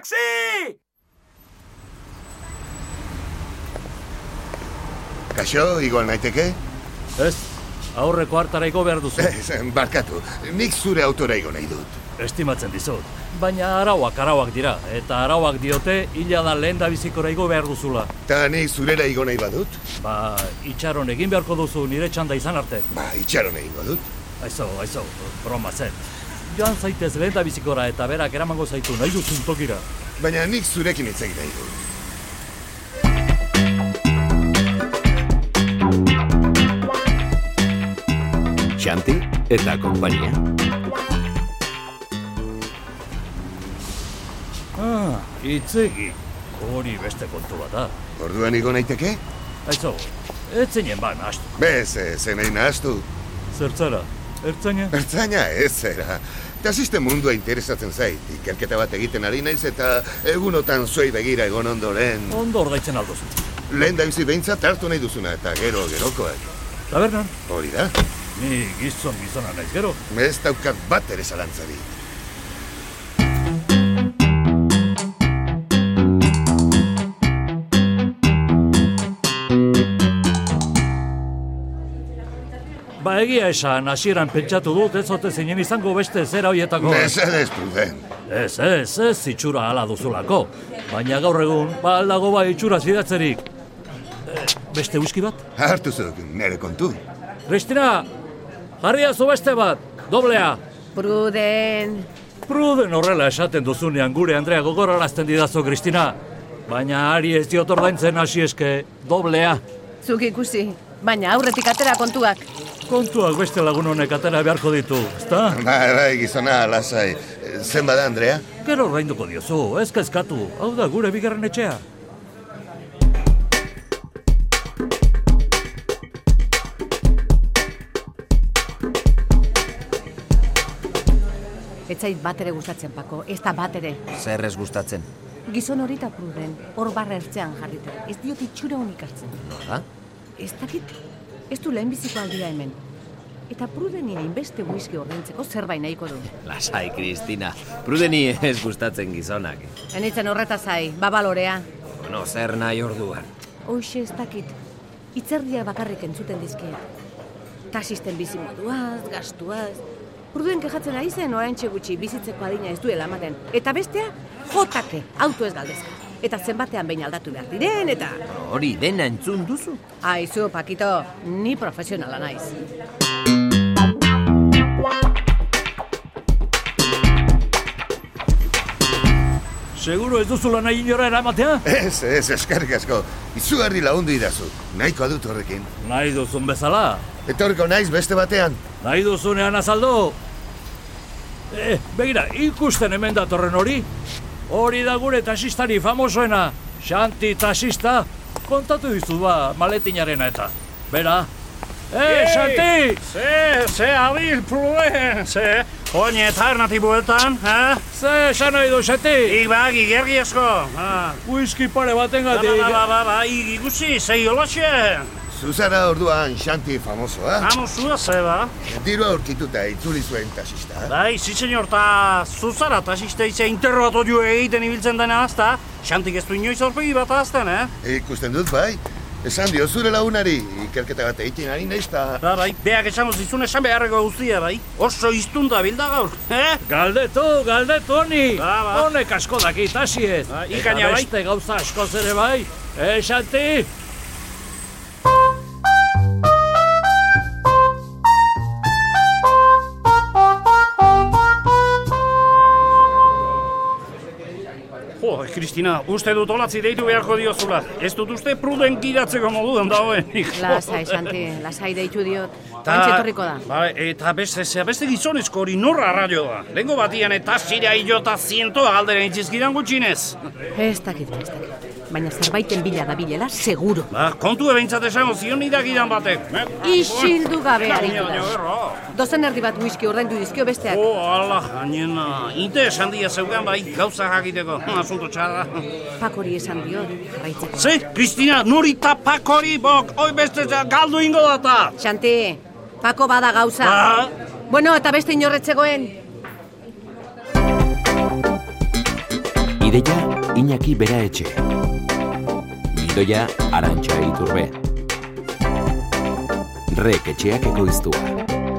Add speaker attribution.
Speaker 1: Taxi!
Speaker 2: Kaixo, igual naiteke?
Speaker 3: Ez, aurreko hartara igo behar duzu.
Speaker 2: Ez, barkatu, nik zure autora igo nahi dut.
Speaker 3: Estimatzen dizut. Baina arauak arauak dira, eta arauak diote hila da lehen da bizikora igo behar duzula.
Speaker 2: Ta nik zurera igo nahi badut?
Speaker 3: Ba, itxaron egin beharko duzu nire txanda izan arte.
Speaker 2: Ba, itxaron egingo dut.
Speaker 3: Aizo, aizo, broma zen. Joan zaitez lehen da bizikora eta berak eramango zaitu nahi duzun tokira.
Speaker 2: Baina nik zurekin hitz egin nahi dut.
Speaker 4: Xanti eta konpainia.
Speaker 3: Ah, itzegi. Hori beste kontu bat da.
Speaker 2: Orduan igo naiteke?
Speaker 3: Aizo, ez zinen ban, astu.
Speaker 2: Bez, zenei nahaztu.
Speaker 3: Zertzara, ertzaina?
Speaker 2: Ertzaina ez zera. Tasisten mundua interesatzen zait, ikerketa bat egiten ari naiz eta egunotan zuei begira egon ondoren.
Speaker 3: Ondo ordaitzen aldozu.
Speaker 2: Lehen da bizi behintzat hartu nahi duzuna eta gero gerokoak.
Speaker 3: Tabernan,
Speaker 2: Hori da,
Speaker 3: ni gizon gizona naiz gero.
Speaker 2: ez daukat bat ere zalantzari.
Speaker 3: Ba egia esan, hasieran pentsatu dut ez ote zinen izango beste zera hoietako.
Speaker 2: Ez, ez, pruden.
Speaker 3: Ez, ez, ez itxura hala duzulako. Baina gaur egun, ba aldago ba itxura zidatzerik. Eh, beste whisky bat?
Speaker 2: Hartu zuk, nere kontu.
Speaker 3: Kristina, jarria zu beste bat, doblea.
Speaker 5: Pruden.
Speaker 3: Pruden horrela esaten duzunean gure Andrea gogorarazten didazu, Kristina. Baina ari ez diot ordaintzen hasi eske, doblea.
Speaker 5: Zuk ikusi. Baina aurretik atera kontuak.
Speaker 3: Kontuak beste lagun honek atera beharko ditu, ezta?
Speaker 2: Bai, bai, gizona, lasai. Zen bada, Andrea?
Speaker 3: Gero ordainduko diozu, ez kezkatu. Hau da gure bigarren etxea.
Speaker 5: Ez zait bat ere gustatzen, Pako. Ez da bat ere.
Speaker 4: Zer ez gustatzen?
Speaker 5: Gizon hori eta pruden, hor barra ertzean jarrita. Ez diot itxura honik hartzen.
Speaker 4: Nola?
Speaker 5: Ez dakit, ez du lehenbiziko aldia hemen. Eta prudenia inbeste whisky ordaintzeko zerbait nahiko du.
Speaker 4: Lasai, Kristina. Prudeni ez gustatzen gizonak.
Speaker 5: Enitzen horretaz zai, babalorea.
Speaker 4: Bueno, zer nahi orduan.
Speaker 5: Hoxe ez dakit, itzerdia bakarrik entzuten dizkiet. Tasisten bizimoduaz, gastuaz... Pruden kejatzen ari zen orain gutxi bizitzeko adina ez duela ematen. Eta bestea, jotake, auto ez galdezka. Eta zenbatean behin aldatu behar diren, eta...
Speaker 4: Hori dena entzun duzu?
Speaker 5: Aizu, Pakito, ni profesionala naiz.
Speaker 3: Seguro ez duzula nahi inora eramatea?
Speaker 2: Ez, ez, eskarrik asko. Izugarri lagundu idazu. Nahikoa dut horrekin.
Speaker 3: Nahi duzun bezala.
Speaker 2: Etorko naiz beste batean.
Speaker 3: Nahi duzunean azaldu. Eh, begira, ikusten hemen datorren hori. Hori da gure tasistari famosoena. Xanti tasista. Kontatu dizu ba, maletinarena eta. Bera. Eh, Xanti!
Speaker 6: Ze, ze abil pluen, ze, oin eta ernati bueltan, ha?
Speaker 3: Ze esan nahi du, Xanti?
Speaker 6: Ik ba, gigergi esko, ha?
Speaker 3: Whisky pare baten
Speaker 6: Ba, ba, ba,
Speaker 3: gatik.
Speaker 6: ba, ba, i- ikusi, ze jolaxe,
Speaker 2: Zuzara orduan xanti famosoa.
Speaker 6: hamo zua ze, ba?
Speaker 2: Diru aurkituta itzuli zuen tasista.
Speaker 6: Bai, zi senyor, ta zuzara, ta sisteitze interrogatu jo egiten ibiltzen dena azta, xantik ez du inoiz aurpegi bat azten, eh?
Speaker 2: Ikusten dut, bai. Esan dio zure lagunari, ikerketa bat egiten ari naiz eta...
Speaker 6: Ba, bai, beak esango zizun esan beharreko guztia, bai? Oso iztun da bilda gaur, eh?
Speaker 3: Galdetu, galdetu honi!
Speaker 6: Ba, ba.
Speaker 3: Honek asko daki, tasi ez!
Speaker 6: Ba, ikaina
Speaker 3: Eta
Speaker 6: bai.
Speaker 3: beste gauza asko zere bai! Eh, Xanti!
Speaker 6: Jo, Kristina, uste dut olatzi deitu beharko diozula. Ez dut uste pruden giratzeko moduan dagoenik.
Speaker 5: Lasai, Santi, lasai deitu diot.
Speaker 6: Ta-
Speaker 5: Antxe etorriko da.
Speaker 6: Ba, eta beste, ze, beste gizonezko hori norra raio da. Lengo batian eta zira hilota zientoa galdera intzizkidan gutxinez.
Speaker 5: Ez dakit, ez dakit. Baina zerbaiten bila da bilela, seguro.
Speaker 6: Ba, kontu ebentzat esango zion idagidan batek. Eh?
Speaker 5: Isildu gabe
Speaker 6: Eta
Speaker 5: aritu
Speaker 6: baina,
Speaker 5: da.
Speaker 6: erra.
Speaker 5: Dozen erdi bat whisky ordaindu dizkio besteak.
Speaker 6: O, Oh, ala, hainena, interes handia zeukan bai gauza jakiteko, asunto txarra.
Speaker 5: Pakori esan dio, jarraitzeko.
Speaker 6: Ze, Kristina, nori tapak hori, bok, oi beste za- galdu ingo data.
Speaker 5: Xanti, Pako bada gauza.
Speaker 6: Ba.
Speaker 5: Bueno, eta beste inorretzegoen.
Speaker 4: Ideia, Iñaki Bera Etxe. Gidoia, Arantxa Iturbe. Rek etxeak ekoiztua.